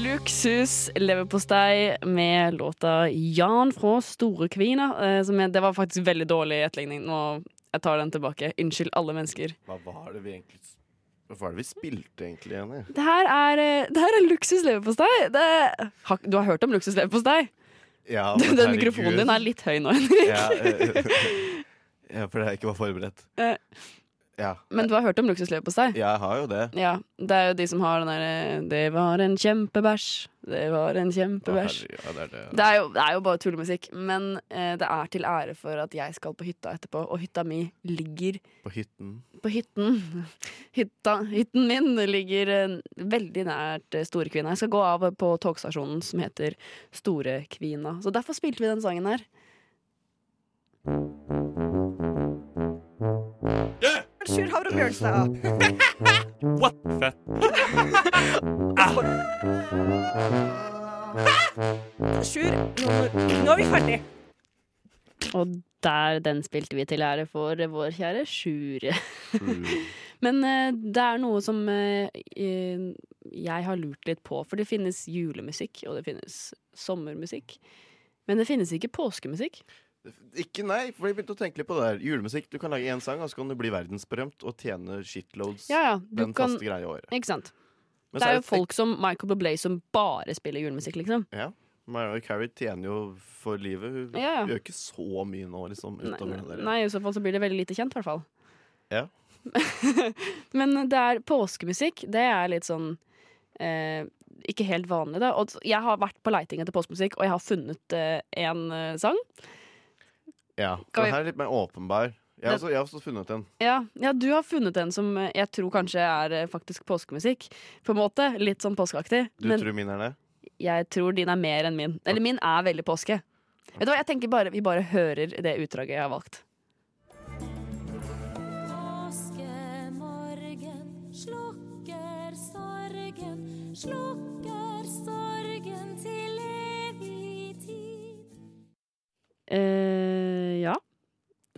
Speaker 3: Luksus leverpostei med låta Jan fra Storekvina. Eh, som jeg, det var faktisk veldig dårlig etterligning. Nå, jeg tar den tilbake. Unnskyld alle mennesker.
Speaker 4: Hva var det vi egentlig Hva var det vi spilte egentlig, Jenny?
Speaker 3: Det her er, eh, det her er luksus leverpostei. Det, har, du har hørt om luksus leverpostei?
Speaker 4: Ja, men
Speaker 3: Den
Speaker 4: herregud.
Speaker 3: mikrofonen din er litt høy nå, Henrik.
Speaker 4: ja, eh, ja, for jeg ikke var forberedt.
Speaker 3: Eh.
Speaker 4: Ja.
Speaker 3: Men du har hørt om luksus leverpostei?
Speaker 4: Jeg har jo det.
Speaker 3: Ja, det er jo de som har den derre 'Det var en kjempebæsj', 'Det var en
Speaker 4: Å,
Speaker 3: kjempebæsj'.
Speaker 4: herregud, Ja, det er det.
Speaker 3: Det er, jo, det er jo bare tullemusikk, men eh, det er til ære for at jeg skal på hytta etterpå, og hytta mi ligger
Speaker 4: På hytten.
Speaker 3: på hytten. Hytta, hytten min ligger eh, veldig nært eh, Storekvina. Jeg skal gå av på togstasjonen som heter Storekvina. Så derfor spilte vi den sangen her.
Speaker 8: Sjur Havre Bjørnstad.
Speaker 5: What fett?
Speaker 8: Sjur nummer Nå er vi ferdig.
Speaker 3: Og der den spilte vi til ære for vår kjære Sjure.
Speaker 4: Mm.
Speaker 3: Men eh, det er noe som eh, eh, jeg har lurt litt på, for det finnes julemusikk, og det finnes sommermusikk. Men det finnes ikke påskemusikk.
Speaker 4: Ikke nei, for jeg begynte å tenke litt på det der. Julemusikk. Du kan lage én sang, og så kan du bli verdensberømt og tjene shitloads.
Speaker 3: Ja, ja, du
Speaker 4: Den
Speaker 3: kan
Speaker 4: faste greia i året.
Speaker 3: Ikke sant.
Speaker 4: Men
Speaker 3: Det
Speaker 4: så
Speaker 3: er jo
Speaker 4: et-
Speaker 3: folk som Michael Bublé som bare spiller julemusikk, liksom.
Speaker 4: Ja. Mariah Carey tjener jo for livet. Hun
Speaker 3: Ja, ja.
Speaker 4: gjør ikke så mye nå, liksom. Utover
Speaker 3: Nei,
Speaker 4: det der.
Speaker 3: nei, i så fall så blir det veldig lite kjent, i hvert fall.
Speaker 4: Ja.
Speaker 3: Men det er påskemusikk. Det er litt sånn eh, ikke helt vanlig, da. Og jeg har vært på leiting etter påskemusikk, og jeg har funnet én sang.
Speaker 4: Ja,
Speaker 3: Kan
Speaker 4: den
Speaker 3: vi-
Speaker 4: her er litt mer åpenbar. Jeg har også, jeg har også funnet en.
Speaker 3: Ja, ja, du har funnet en som eh, jeg tror kanskje er eh, faktisk påskemusikk. På en måte, Litt sånn påskeaktig.
Speaker 4: Du
Speaker 3: men
Speaker 4: tror min er det?
Speaker 3: jeg tror din er mer enn min. Eller min er veldig påske. Vet du hva, jeg tenker bare, Vi bare hører det utdraget jeg har valgt.
Speaker 9: Påskemorgen slukker sorgen, slukker sorgen til evig tid.
Speaker 3: Eh, ja.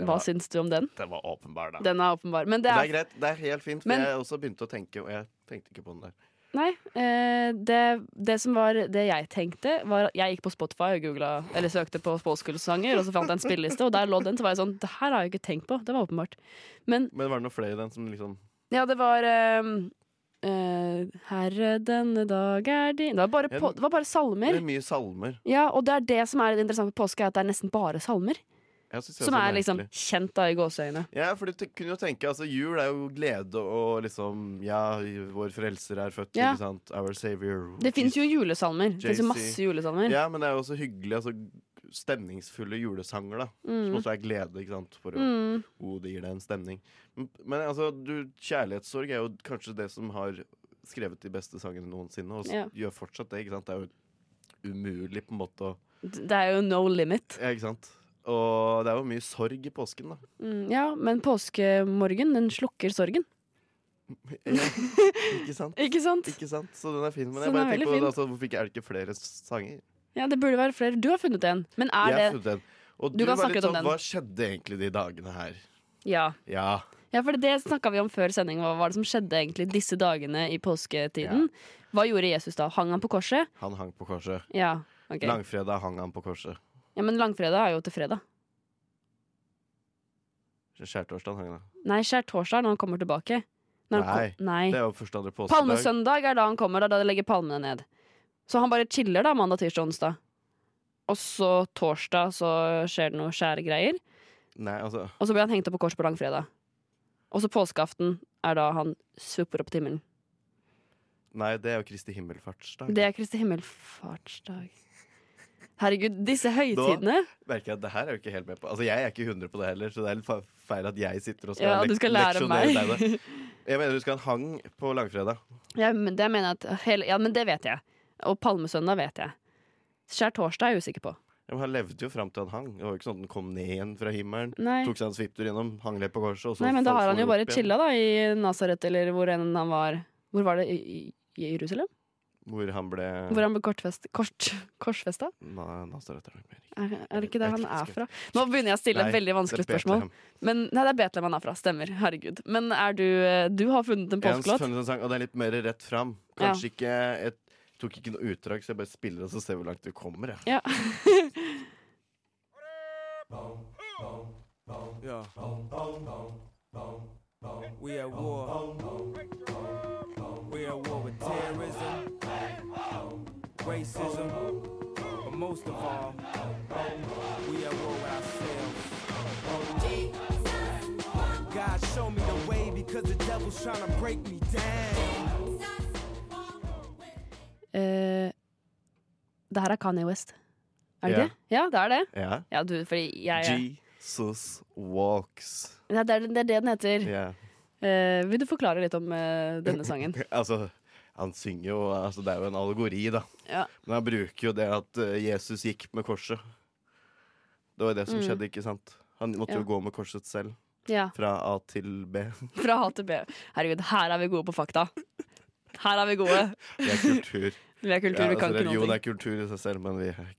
Speaker 3: Hva syns du om den?
Speaker 4: Den var åpenbar, da.
Speaker 3: Den er åpenbar. Men det
Speaker 4: Det
Speaker 3: er
Speaker 4: er greit. Det er helt fint. For
Speaker 3: Men-
Speaker 4: jeg også begynte å tenke, og jeg tenkte ikke på den der.
Speaker 3: Nei. Eh, det, det som var det jeg tenkte, var at jeg gikk på Spotify og googla, eller søkte på påskesanger, og så fant jeg en spilleliste, og der lå den. Så var jeg sånn Det her har jeg ikke tenkt på. Det var åpenbart. Men
Speaker 4: Men var det noen flere i den som liksom
Speaker 3: ja, det var eh, eh, Herre, denne dag er din det var, bare på, det var bare
Speaker 4: Det
Speaker 3: salmer.
Speaker 4: er mye salmer.
Speaker 3: Ja, og det er det som er interessant med påske, er at det er nesten bare salmer.
Speaker 4: Jeg synes det
Speaker 3: Som
Speaker 4: så
Speaker 3: er liksom
Speaker 4: merkelig.
Speaker 3: kjent, da, i gåseøyne.
Speaker 4: Ja, for du te- kunne jo tenke altså Jul er jo glede og liksom Ja, vår frelser er født,
Speaker 3: Ja.
Speaker 4: ikke sant? Our savior.
Speaker 3: Det fins jo julesalmer. Det finnes jo
Speaker 4: JC.
Speaker 3: masse julesalmer.
Speaker 4: Ja, men det er jo også hyggelig. Altså stemningsfulle julesanger, da. Som også er glede, ikke sant? For å
Speaker 3: Mm.
Speaker 4: oh, det gir deg en stemning. Men, men altså, du, kjærlighetssorg er jo kanskje det som har skrevet de beste sangene noensinne, og s-
Speaker 3: Ja.
Speaker 4: gjør fortsatt det. ikke sant? Det er jo umulig på en måte å
Speaker 3: Det er jo no limit.
Speaker 4: Ja, ikke sant? Og det er jo mye sorg i påsken, da.
Speaker 3: Mm, ja, men påskemorgen, den slukker sorgen.
Speaker 4: Ja, ikke sant?
Speaker 3: Ikke sant?
Speaker 4: Ikke sant? Så den er fin. Men
Speaker 3: Så
Speaker 4: jeg
Speaker 3: den
Speaker 4: bare
Speaker 3: er
Speaker 4: tenker på
Speaker 3: veldig
Speaker 4: det, altså, hvorfor ikke, er det ikke flere sanger?
Speaker 3: Ja, det burde være flere. Du har funnet en. Men er
Speaker 4: Jeg har
Speaker 3: det
Speaker 4: funnet en. Og
Speaker 3: Du
Speaker 4: du,
Speaker 3: kan
Speaker 4: var
Speaker 3: snakke
Speaker 4: litt
Speaker 3: litt om
Speaker 4: sånn,
Speaker 3: den.
Speaker 4: hva skjedde egentlig de dagene her?
Speaker 3: Ja,
Speaker 4: Ja.
Speaker 3: ja for det snakka vi om før sending. Hva var det som skjedde egentlig disse dagene i påsketiden? Hva gjorde Jesus da? Hang han på korset?
Speaker 4: Han hang på korset.
Speaker 3: Ja. ok
Speaker 4: Langfredag hang han på korset.
Speaker 3: ja, Men langfredag er jo til fredag.
Speaker 4: Skjærtorsdag hang han.
Speaker 3: Nei, skjærtorsdag er når han kommer tilbake. Når han
Speaker 4: Nei.
Speaker 3: Kom, nei.
Speaker 4: Det er jo første andre påskedag.
Speaker 3: Palmesøndag er da han kommer, da, da legger palmene ned. Så han bare chiller da mandag, tirsdag, onsdag. Og så torsdag så skjer det noe skjære greier.
Speaker 4: Nei, altså
Speaker 3: Og så blir han hengt opp på kors på langfredag. Og så påskeaften er da han svupper opp til himmelen.
Speaker 4: Nei, det er jo Kristi himmelfartsdag.
Speaker 3: Det er Kristi himmelfartsdag. Herregud, disse høytidene.
Speaker 4: Merker jeg at det her er jo ikke helt med på. Altså, Jeg er ikke 100 på det heller, så det er litt fa- feil at jeg sitter og skal,
Speaker 3: Ja,
Speaker 4: lek-
Speaker 3: du skal lære
Speaker 4: leksjonere
Speaker 3: meg.
Speaker 4: deg det. Jeg mener du skal ha en hang på langfredag.
Speaker 3: Ja, men det mener jeg at hele, Ja, men det vet jeg. Og palmesøndag vet jeg. Skjærtorsdag er jeg usikker på.
Speaker 4: Ja, men Han levde jo fram til han hang. Det var jo ikke sånn at den kom ned igjen fra himmelen.
Speaker 3: Nei.
Speaker 4: Tok seg en svipptur gjennom, hang litt på korset, og så
Speaker 3: Nei, men da
Speaker 4: falt
Speaker 3: har han jo
Speaker 4: opp
Speaker 3: bare
Speaker 4: igjen.
Speaker 3: chilla da i Nazaret, eller hvor enn han var. Hvor var det? I, i i Jerusalem?
Speaker 4: Hvor han ble
Speaker 3: Hvor han ble kortfest, kort, korsfesta?
Speaker 4: Na- Nasaret er nok mer riktig.
Speaker 3: Er, er det ikke der
Speaker 4: Jeg
Speaker 3: han
Speaker 4: vet
Speaker 3: er
Speaker 4: ikke.
Speaker 3: fra? Nå begynner jeg å stille
Speaker 4: Nei,
Speaker 3: et veldig vanskelig
Speaker 4: det er
Speaker 3: spørsmål.
Speaker 4: Betlehem.
Speaker 3: Men, nei, det er Betlehem han er fra. Stemmer. Herregud. Men er du eh, Du har funnet en
Speaker 4: Jeg har
Speaker 3: påskelåt?
Speaker 4: funnet en sånn sang, og det er litt mer rett fram.
Speaker 3: Ja.
Speaker 4: Kanskje ikke et, Tok ikke noe utdrag, så jeg bare spiller, og så ser vi hvor langt du kommer. Jeg.
Speaker 3: Ja.
Speaker 1: Yeah. We at war. We at war with terrorism, racism, but most of all, we at war with ourselves. God, show me the way because the devil's trying to break me down.
Speaker 3: Eh, det her er Kanye West. Er det
Speaker 4: Ja.
Speaker 3: det? Ja, det er det.
Speaker 4: Ja.
Speaker 3: Ja, du, fordi jeg
Speaker 4: Jesus walks.
Speaker 3: Nei, det, er, det er det den heter.
Speaker 4: Ja.
Speaker 3: Eh, vil du forklare litt om eh, denne sangen?
Speaker 4: Altså, han synger jo altså, Det er jo en allegori, da.
Speaker 3: Ja.
Speaker 4: Men han bruker jo det at eh, Jesus gikk med korset. Det var jo det som skjedde, ikke sant? Han måtte
Speaker 3: Mm. Ja.
Speaker 4: jo gå med korset selv.
Speaker 3: Ja.
Speaker 4: Fra A til B.
Speaker 3: Fra A til B. Herregud, her er vi gode på fakta. Her er vi gode.
Speaker 4: Det er kultur.
Speaker 3: Vi er kultur,
Speaker 4: Ja,
Speaker 3: vi kan
Speaker 4: altså,
Speaker 3: ikke
Speaker 4: religion
Speaker 3: noe.
Speaker 4: er kultur i seg selv, men vi er,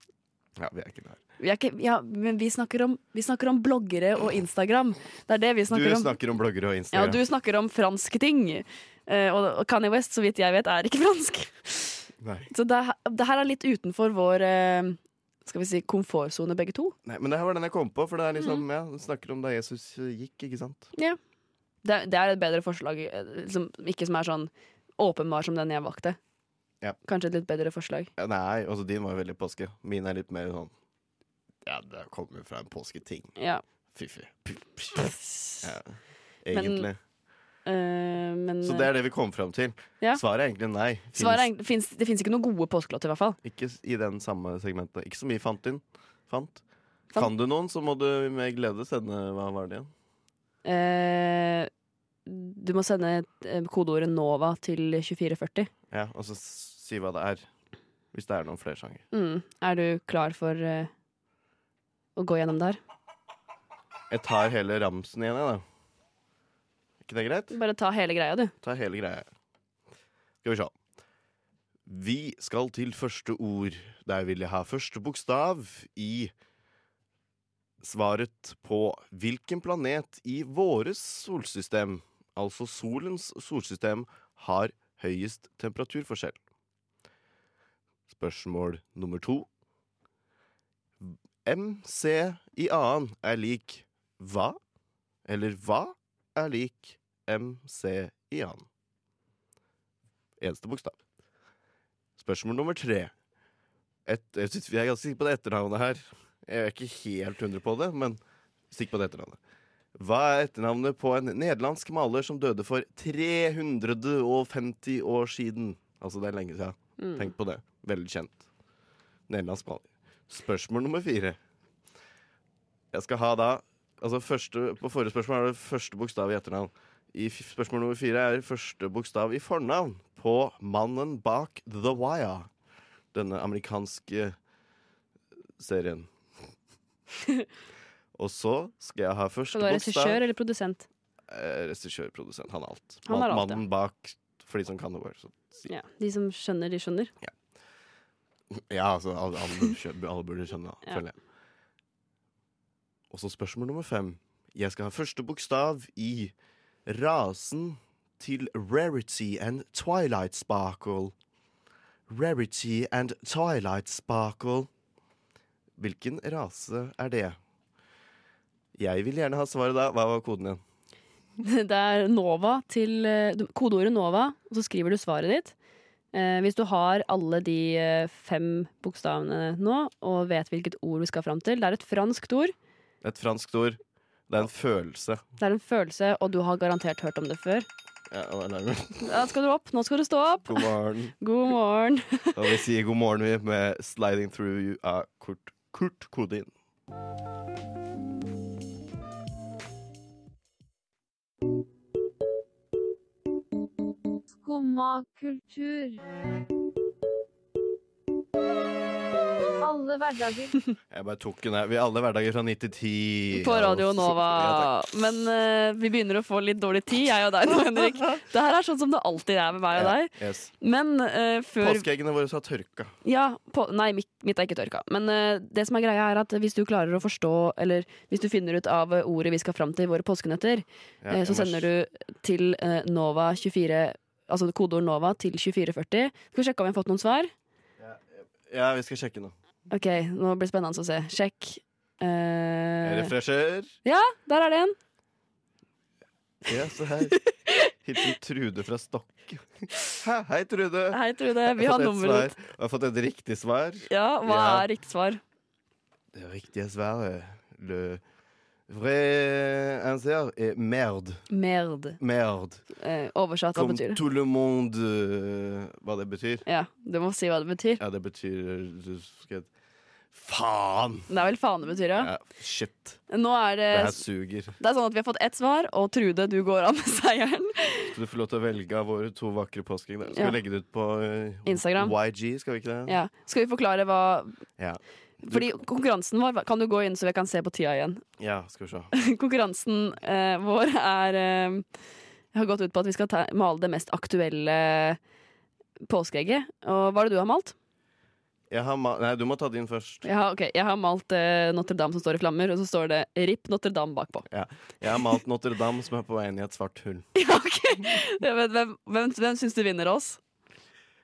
Speaker 4: ja, vi er ikke der.
Speaker 3: Vi er ikke, ja, men vi snakker, om, vi snakker om bloggere og Instagram. Det er det vi
Speaker 4: Du
Speaker 3: snakker om.
Speaker 4: snakker om bloggere og
Speaker 3: Ja,
Speaker 4: Instagram.
Speaker 3: og du snakker om franske ting. Eh, og og Kanye West, så vidt jeg vet, er ikke fransk.
Speaker 4: Nei.
Speaker 3: Så det, her- det her er litt utenfor vår eh, skal vi si, komfortsone, begge to.
Speaker 4: Nei, men det her var den jeg kom på, for det er
Speaker 3: Mhm.
Speaker 4: liksom, ja, den snakker om da Jesus eh, gikk, ikke sant?
Speaker 3: Det, er- det er et bedre forslag, eh, liksom, ikke som er sånn åpenbar som den jeg valgte.
Speaker 4: Ja.
Speaker 3: Kanskje et litt bedre forslag.
Speaker 4: Ja, nei, altså din var jo veldig påske. Min er litt mer sånn Ja, det kommer jo fra en påsketing.
Speaker 3: Ja.
Speaker 4: Fy-fy.
Speaker 3: Eh,
Speaker 4: Ja, egentlig.
Speaker 3: Eh, men
Speaker 4: Så det er det vi kom fram til.
Speaker 3: Ja.
Speaker 4: Svaret er egentlig nei.
Speaker 3: eh,
Speaker 4: Finnes
Speaker 3: svaret er egentlig- finnes, Det fins ikke noen gode påskelåter, i hvert fall.
Speaker 4: Ikke s- i den samme segmentet. Ikke så mye fant inn. Fant.
Speaker 3: Fant.
Speaker 4: Kan du noen, så må du med glede sende Hva var det igjen?
Speaker 3: Eh, du må sende eh, kodeordet NOVA til 2440.
Speaker 4: Ja, Og så s- si hva det er. Hvis det er noen flere sanger.
Speaker 3: Mm. Er du klar for eh, å gå gjennom der?
Speaker 4: Jeg tar hele ramsen igjen, jeg, da. ikke det greit?
Speaker 3: Bare ta hele greia, du.
Speaker 4: Ta hele greia. Skal vi se. Vi skal til første ord. Der vil jeg ha første bokstav i svaret på hvilken planet i våres solsystem, altså solens solsystem, har høyest temperaturforskjell? Spørsmål nummer to. MC i annen er lik hva? Eller hva er lik MC i annen? Eneste bokstav. Spørsmål nummer tre. Et, jeg, synes vi er ganske sikre på det etternavnet her. Jeg er ikke helt 100 på det, men sikker på det etternavnet. Hva er etternavnet på en nederlandsk maler som døde for 350 år siden? Altså, det er lenge siden.
Speaker 3: Mm.
Speaker 4: Tenk på det. Veldig kjent. Nederlandsk maler. Spørsmål nummer fire. Jeg skal ha da Altså første, På forrige spørsmål er det første bokstav i etternavn. I f- spørsmål nummer fire er første bokstav i fornavn på mannen bak The Wire. Denne amerikanske eh, serien. Og så skal jeg ha første
Speaker 3: Skal du være regissør
Speaker 4: bokstav.
Speaker 3: eller produsent?
Speaker 4: Eh, Regissør, produsent. Han er alt.
Speaker 3: Han er alt, ja.
Speaker 4: mannen bak for de som kan det. bare, Så.
Speaker 3: Ja. De som skjønner, de skjønner.
Speaker 4: Ja, altså, alle, alle, burde skjø- alle burde skjønne, da,
Speaker 3: Ja.
Speaker 4: føler jeg. Og så spørsmål nummer fem. Jeg skal ha første bokstav i rasen til Rarity and Twilight Sparkle. Rarity and Twilight Sparkle. Hvilken rase er det? Jeg vil gjerne ha svaret da. Hva var koden igjen?
Speaker 3: Det er NOVA til eh, du- Kodeordet NOVA, og så skriver du svaret ditt. Eh, hvis du har alle de eh, fem bokstavene nå, og vet hvilket ord vi skal fram til Det er et franskt ord,
Speaker 4: Et franskt ord. Det er en følelse.
Speaker 3: det er en følelse, og du har garantert hørt om det før.
Speaker 4: Ja, og alarmen.
Speaker 3: Da skal du opp, nå skal du stå opp!
Speaker 4: God morgen.
Speaker 3: God morgen!
Speaker 4: Og vi sier god morgen vi med 'Sliding Through You' av Kurt, Kurt Kodin.
Speaker 9: Skumma kultur. Alle hverdager
Speaker 4: Jeg bare tok den her. Vi er alle hverdager fra 9 til 10.
Speaker 3: På Radio
Speaker 4: Ja, takk.
Speaker 3: Nova. Men eh, vi begynner å få litt dårlig tid, jeg og deg nå, Henrik. Det her er sånn som det alltid er med meg og deg.
Speaker 4: Yes.
Speaker 3: Men eh, før
Speaker 4: Påskeeggene våre har tørka.
Speaker 3: Ja, på, nei, mitt, mitt er ikke tørka. Men eh, det som er greia er at hvis du klarer å forstå, eller hvis du finner ut av eh, ordet vi skal fram til i våre påskenøtter,
Speaker 4: Ja,
Speaker 3: eh,
Speaker 4: jeg
Speaker 3: så
Speaker 4: må-
Speaker 3: sender du til eh, Nova 24 Altså kodeord NOVA til 2440. Skal vi sjekke om vi har fått noen svar?
Speaker 4: Ja, vi skal sjekke nå.
Speaker 3: Ok, nå blir det spennende å se. Sjekk.
Speaker 4: Jeg
Speaker 3: Eh,
Speaker 4: refresher.
Speaker 3: ja, der er det en.
Speaker 4: Ja, se her. Hilsen Trude fra Stokke. Hæ, Hei, Trude.
Speaker 3: Hei, Trude. Vi
Speaker 4: Jeg
Speaker 3: har
Speaker 4: fått et
Speaker 3: nummeret ditt.
Speaker 4: svar. Jeg har fått et riktig svar.
Speaker 3: Ja, hva
Speaker 4: Ja.
Speaker 3: er riktig svar?
Speaker 4: Det riktige svaret Le vrai answer er merde.
Speaker 3: Merd.
Speaker 4: Merde.
Speaker 3: Eh, oversatt, hva
Speaker 4: Comme
Speaker 3: betyr det?
Speaker 4: tout le monde øh, Hva det betyr?
Speaker 3: Ja, du må si hva det betyr.
Speaker 4: Ja, det betyr du skal- Faen!
Speaker 3: Det er vel faen det betyr, ja. Eh,
Speaker 4: Ja, shit.
Speaker 3: Nå er det
Speaker 4: Det her suger.
Speaker 3: Det er sånn at Vi har fått ett svar, og Trude, du går av med seieren.
Speaker 4: Skal du få lov til å velge av våre to vakre påskeegg? Skal
Speaker 3: Ja.
Speaker 4: vi legge det ut på øh,
Speaker 3: Instagram.
Speaker 4: YG, skal vi ikke det?
Speaker 3: Ja. Skal vi forklare hva
Speaker 4: Ja.
Speaker 3: Fordi konkurransen vår Kan du gå inn, så vi kan se på tida igjen?
Speaker 4: Ja, skal vi se.
Speaker 3: Konkurransen eh, vår er eh, Har gått ut på at vi skal ta, male det mest aktuelle påskeegget. Og hva er det du har malt?
Speaker 4: Jeg har ma Nei, du må ta din først.
Speaker 3: Jeg har, ok, jeg har malt eh, Notre-Dame som står i flammer, og så står det 'Rip Notre-Dame' bakpå.
Speaker 4: Ja. Jeg har malt Notre-Dame som er på vei inn i et svart hull.
Speaker 3: Ja, ok Ja, men Hvem, hvem, hvem syns du vinner oss?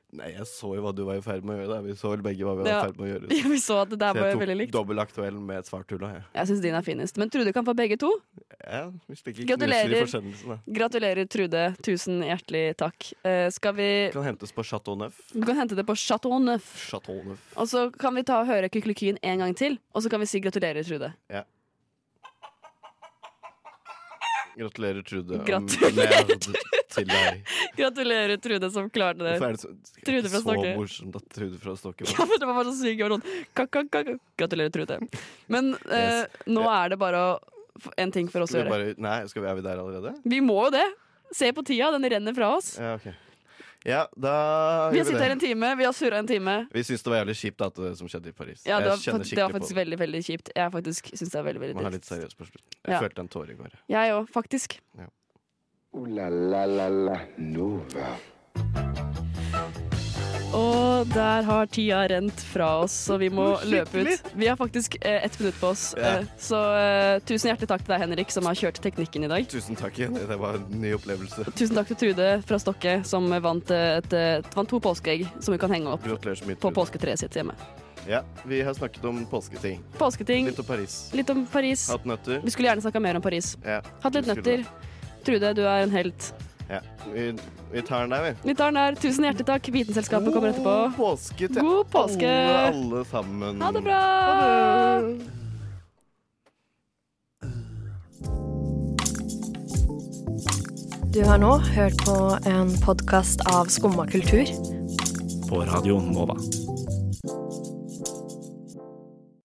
Speaker 4: Nei, jeg så jo hva du var i ferd med å gjøre. der. Vi så vel begge hva vi var
Speaker 3: Ja.
Speaker 4: i ferd med å gjøre.
Speaker 3: Ja, vi så at det der
Speaker 4: Så
Speaker 3: var
Speaker 4: jeg
Speaker 3: veldig
Speaker 4: tok
Speaker 3: likt.
Speaker 4: dobbel aktuell med et svart hull. da, Jeg.
Speaker 3: Jeg syns din er finest. Men Trude kan få begge to.
Speaker 4: Ja, hvis det ikke
Speaker 3: Gratulerer.
Speaker 4: knuser i forsendelsen. da.
Speaker 3: Gratulerer, Trude. Tusen hjertelig takk. Eh, skal vi
Speaker 4: Kan hentes på Chateau Neuf.
Speaker 3: Du kan hente det på Chateau Neuf.
Speaker 4: Chateau Neuf.
Speaker 3: Og så kan vi ta og høre Kykelikyen en gang til, og så kan vi si gratulerer, Trude.
Speaker 4: Gratulerer, Trude.
Speaker 3: Gratulerer,
Speaker 4: Med- Til deg.
Speaker 3: Gratulerer, Trude, som klarte
Speaker 4: Hvorfor
Speaker 3: det.
Speaker 4: er det så, det er
Speaker 3: Trude
Speaker 4: ikke
Speaker 3: fra Stokke.
Speaker 4: Så morsomt at Trude fra Stokke
Speaker 3: Ja, for det var bare så sykt. jeg var sånn, ka-ka-ka-ka. Gratulerer, Trude. Men eh, nå er det bare å f- en ting for oss å
Speaker 4: Skal
Speaker 3: gjøre.
Speaker 4: vi bare, nei, skal vi, er vi der allerede?
Speaker 3: Vi må jo det. Se på tida, den renner fra oss.
Speaker 4: Ja, ok. Ja, da
Speaker 3: Vi
Speaker 4: gjør
Speaker 3: har sittet her en
Speaker 4: det.
Speaker 3: time, vi har surra en time.
Speaker 4: Vi syns det var jævlig kjipt at det som skjedde i Paris.
Speaker 3: Ja, det
Speaker 4: jeg
Speaker 3: var, fakt- det
Speaker 4: kjenner
Speaker 3: var
Speaker 4: skikkelig
Speaker 3: faktisk
Speaker 4: på det.
Speaker 3: veldig veldig kjipt. Jeg faktisk synes det er veldig,
Speaker 4: Man er
Speaker 3: veldig
Speaker 4: litt
Speaker 3: trist.
Speaker 4: seriøs på slutten. Jeg
Speaker 3: Ja.
Speaker 4: følte en tåre i går. jeg.
Speaker 3: Jeg òg, faktisk.
Speaker 2: Ooh la la la la Nova.
Speaker 3: Og der har tida rent fra oss, så vi må løpe
Speaker 4: skikkelig.
Speaker 3: ut. Vi har faktisk eh, ett minutt på oss,
Speaker 4: Ja.
Speaker 3: eh, så eh, tusen hjertelig takk til deg, Henrik, som har kjørt teknikken i dag.
Speaker 4: Tusen takk, Jenny. Det var en ny opplevelse.
Speaker 3: Tusen takk til Trude fra Stokke, som vant, eh, et, eh, vant to påskeegg som vi kan henge opp
Speaker 4: Gratulerer så mye.
Speaker 3: på
Speaker 4: Trude.
Speaker 3: påsketreet sitt hjemme.
Speaker 4: Ja, vi har snakket om påsketing.
Speaker 3: Påsketing,
Speaker 4: Litt om Paris.
Speaker 3: litt om Paris.
Speaker 4: Hatt nøtter.
Speaker 3: Vi skulle gjerne snakka mer om Paris.
Speaker 4: Ja.
Speaker 3: Hatt litt
Speaker 4: vi skulle-
Speaker 3: nøtter. Trude, du er en helt.
Speaker 4: Ja. Vi, vi tar den der, vi.
Speaker 3: Vi tar den der. Tusen hjertelig takk. Vitenselskapet kommer
Speaker 4: God
Speaker 3: etterpå.
Speaker 4: påske til
Speaker 3: God påske.
Speaker 4: Alle, alle sammen.
Speaker 3: Ha det bra!
Speaker 10: Du har nå hørt på en podkast av Skumma kultur.
Speaker 6: På Radio Nova.